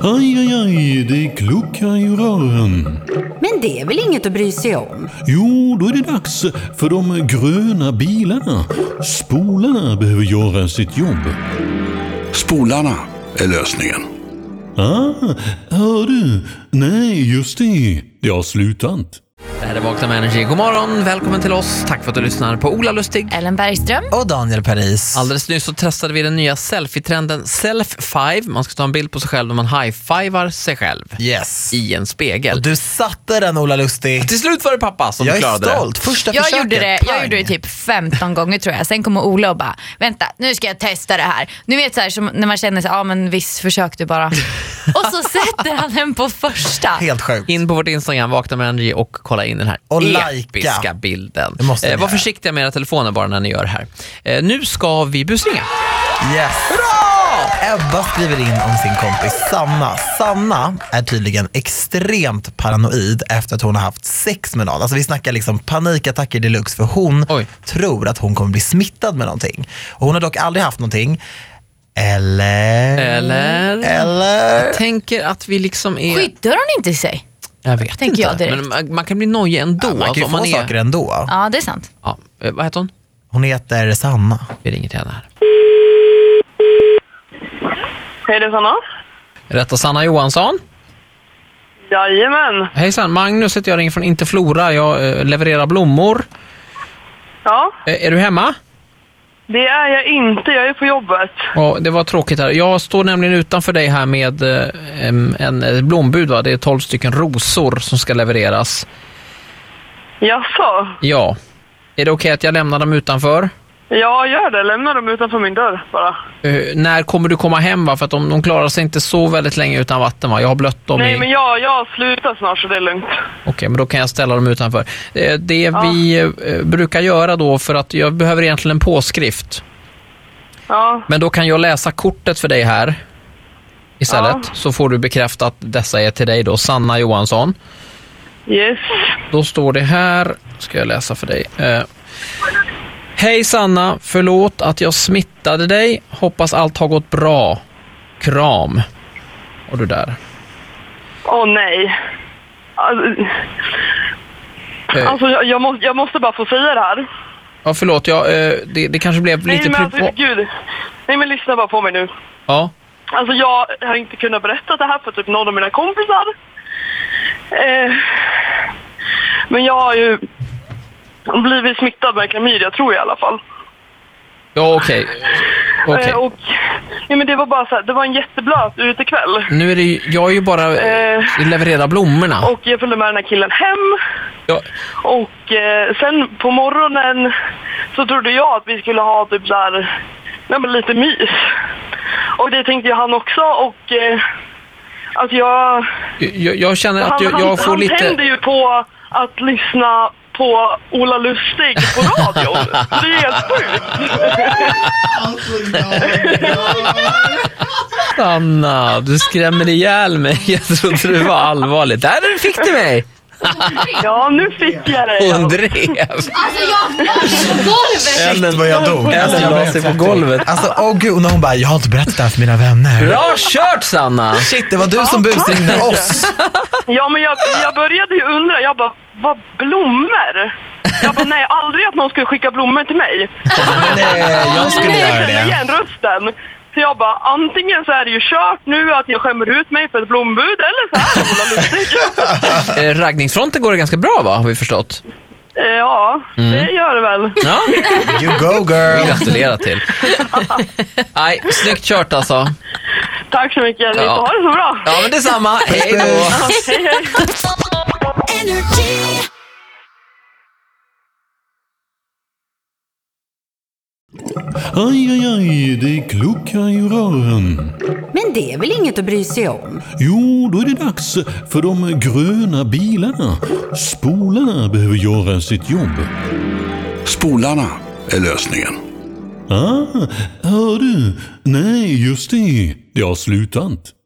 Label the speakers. Speaker 1: Aj, aj, aj, det kluckar i rören.
Speaker 2: Men det är väl inget att bry sig om?
Speaker 1: Jo, då är det dags för de gröna bilarna. Spolarna behöver göra sitt jobb.
Speaker 3: Spolarna är lösningen.
Speaker 1: Ah, hör du? Nej, just det. Det har slutat.
Speaker 4: Det här är Vakna med Energy. God morgon, välkommen till oss. Tack för att du lyssnar på Ola Lustig.
Speaker 5: Ellen Bergström.
Speaker 6: Och Daniel Paris.
Speaker 4: Alldeles nyss så testade vi den nya selfie-trenden self-five. Man ska ta en bild på sig själv och man high-fivar sig själv
Speaker 6: Yes.
Speaker 4: i en spegel.
Speaker 6: Du satte den Ola Lustig.
Speaker 4: Till slut var det pappa som
Speaker 6: Jag är
Speaker 4: klarade
Speaker 6: stolt. Första
Speaker 5: Jag
Speaker 6: försöket.
Speaker 5: gjorde, det, jag
Speaker 6: Pang.
Speaker 5: gjorde det typ 15 gånger tror jag. Sen kommer Ola och bara, vänta nu ska jag testa det här. Nu vet så här, som när man känner sig, ja ah, men visst försök du bara. och så sätter han den på första.
Speaker 6: Helt sjukt.
Speaker 4: det. In på vårt Instagram, Vakna med Energy och kolla in den här
Speaker 6: Och likea.
Speaker 4: episka bilden.
Speaker 6: Det måste ni
Speaker 4: Eh, var
Speaker 6: göra.
Speaker 4: försiktiga med era telefoner bara när ni gör det här. Eh, nu ska vi busringa.
Speaker 6: Yes. Ebba skriver in om sin kompis Sanna. Sanna är tydligen extremt paranoid efter att hon har haft sex med någon. Alltså vi snackar liksom panikattacker deluxe för hon
Speaker 4: Oj.
Speaker 6: tror att hon kommer bli smittad med någonting. Och hon har dock aldrig haft någonting. Eller?
Speaker 4: Eller?
Speaker 6: Eller?
Speaker 4: Jag tänker att vi liksom är...
Speaker 5: Skyddar hon inte sig?
Speaker 4: Jag vet
Speaker 5: Tänker
Speaker 4: inte.
Speaker 5: jag direkt.
Speaker 4: Men man, man kan bli nojig ändå.
Speaker 6: Man kan ju
Speaker 4: Alltså,
Speaker 6: få
Speaker 4: om man är-
Speaker 6: saker ändå.
Speaker 5: Ja det är sant.
Speaker 4: Ja, eh, vad heter hon?
Speaker 6: Hon heter Sanna.
Speaker 4: Vi ringer till henne här.
Speaker 7: Hej det är Sanna.
Speaker 4: Rätta Sanna Johansson.
Speaker 7: Jajamän.
Speaker 4: Hejsan, Magnus heter jag, ringer från Interflora. Jag eh, levererar blommor.
Speaker 7: Ja,
Speaker 4: Eh, är du hemma?
Speaker 7: det är jag inte. Jag är på jobbet.
Speaker 4: Ja, det var tråkigt här. Jag står nämligen utanför dig här med eh, em, en eh, blombud. Va? Det är 12 stycken rosor som ska levereras.
Speaker 7: Jaså?
Speaker 4: Ja. Är det okej att jag lämnar dem utanför?
Speaker 7: Ja, gör det. Lämna dem utanför min dörr bara.
Speaker 4: Eh, när kommer du komma hem? Va? För att de, de klarar sig inte så väldigt länge utan vatten. Va? Jag har blött dem
Speaker 7: Nej,
Speaker 4: i...
Speaker 7: men jag, jag slutar snart så det är lugnt.
Speaker 4: Okej, men då kan jag ställa dem utanför. Eh, Det vi eh, brukar göra då, för att jag behöver egentligen en påskrift.
Speaker 7: Ja,
Speaker 4: Men då kan jag läsa kortet för dig här istället,
Speaker 7: Ja.
Speaker 4: så får du bekräfta att dessa är till dig då, Sanna Johansson.
Speaker 7: yes.
Speaker 4: Då står det här, ska jag läsa för dig. Eh, Hej Sanna, förlåt att jag smittade dig. Hoppas allt har gått bra. Kram. Och du där.
Speaker 7: Åh nej. Alltså,
Speaker 4: Eh,
Speaker 7: alltså jag, jag, måste, jag måste bara få säga det här.
Speaker 4: ja, förlåt, jag, eh, det, det kanske blev
Speaker 7: Nej,
Speaker 4: lite...
Speaker 7: men
Speaker 4: privat-
Speaker 7: alltså gud. Nej, men lyssna bara på mig nu.
Speaker 4: ja.
Speaker 7: Alltså jag har inte kunnat berätta det här för typ någon av mina kompisar. Eh, men jag har ju blivit smittad med klamydia, tror jag i alla fall.
Speaker 4: Ja, okej. Okej.
Speaker 7: Eh, och, nej, men det var bara så här, det var en jätteblöt utekväll.
Speaker 4: Nu är det ju, jag är ju bara
Speaker 7: Eh.
Speaker 4: leverera blommorna.
Speaker 7: Och jag följde med den här killen hem.
Speaker 4: Jag,
Speaker 7: Och eh, sen på morgonen så trodde jag att vi skulle ha typ så här, nej, men lite mys. Och det tänkte ju han också och eh, att jag
Speaker 4: jag, jag känner att
Speaker 7: han,
Speaker 4: jag,
Speaker 7: han,
Speaker 4: jag får
Speaker 7: han tänder
Speaker 4: lite...
Speaker 7: ju på att lyssna på Ola Lustig på radion. Det är helt sjukt.
Speaker 4: Sanna, du skrämmer ihjäl mig. Jag trodde det var allvarligt. Där fick du mig!
Speaker 7: Ja, nu fick jag det.
Speaker 4: Hon drev.
Speaker 5: Alltså jag var på golvet!
Speaker 6: Shit vad jag dog.
Speaker 4: Ellen la sig på golvet.
Speaker 6: Alltså åh gud, och när hon bara, jag har inte berättat det här för mina vänner.
Speaker 4: Bra kört Sanna!
Speaker 6: Shit, det var du som busringde oss.
Speaker 7: Ja, men jag, jag började ju undra. Jag bara, vad blommor? Jag bara, nej, aldrig att någon skulle skicka blommor till mig.
Speaker 6: Nej, jag skulle göra
Speaker 7: Jag känner
Speaker 6: det.
Speaker 7: igen rösten. Så jag bara, antingen så är det ju kört nu att jag skämmer ut mig för ett blombud eller så här Ola Lustig.
Speaker 4: Eh, Raggningsfronten går det ganska bra va, har vi förstått?
Speaker 7: Eh, Ja,
Speaker 4: Mm.
Speaker 7: det gör det väl.
Speaker 4: Ja,
Speaker 6: You go girl.
Speaker 4: gratulerar till. Nej, snyggt kört alltså.
Speaker 7: Tack så mycket. Ni
Speaker 4: Ja.
Speaker 7: får ha det så bra.
Speaker 4: Ja men detsamma, hej då!
Speaker 7: Hej, hej.
Speaker 1: Aj, aj, aj, det kluckar i rören.
Speaker 2: Men det är väl inget att bry sig om?
Speaker 1: Jo, då är det dags för de gröna bilarna. Spolarna behöver göra sitt jobb.
Speaker 3: Spolarna är lösningen.
Speaker 1: Ah, hör du? Nej, just det. Det har slutat.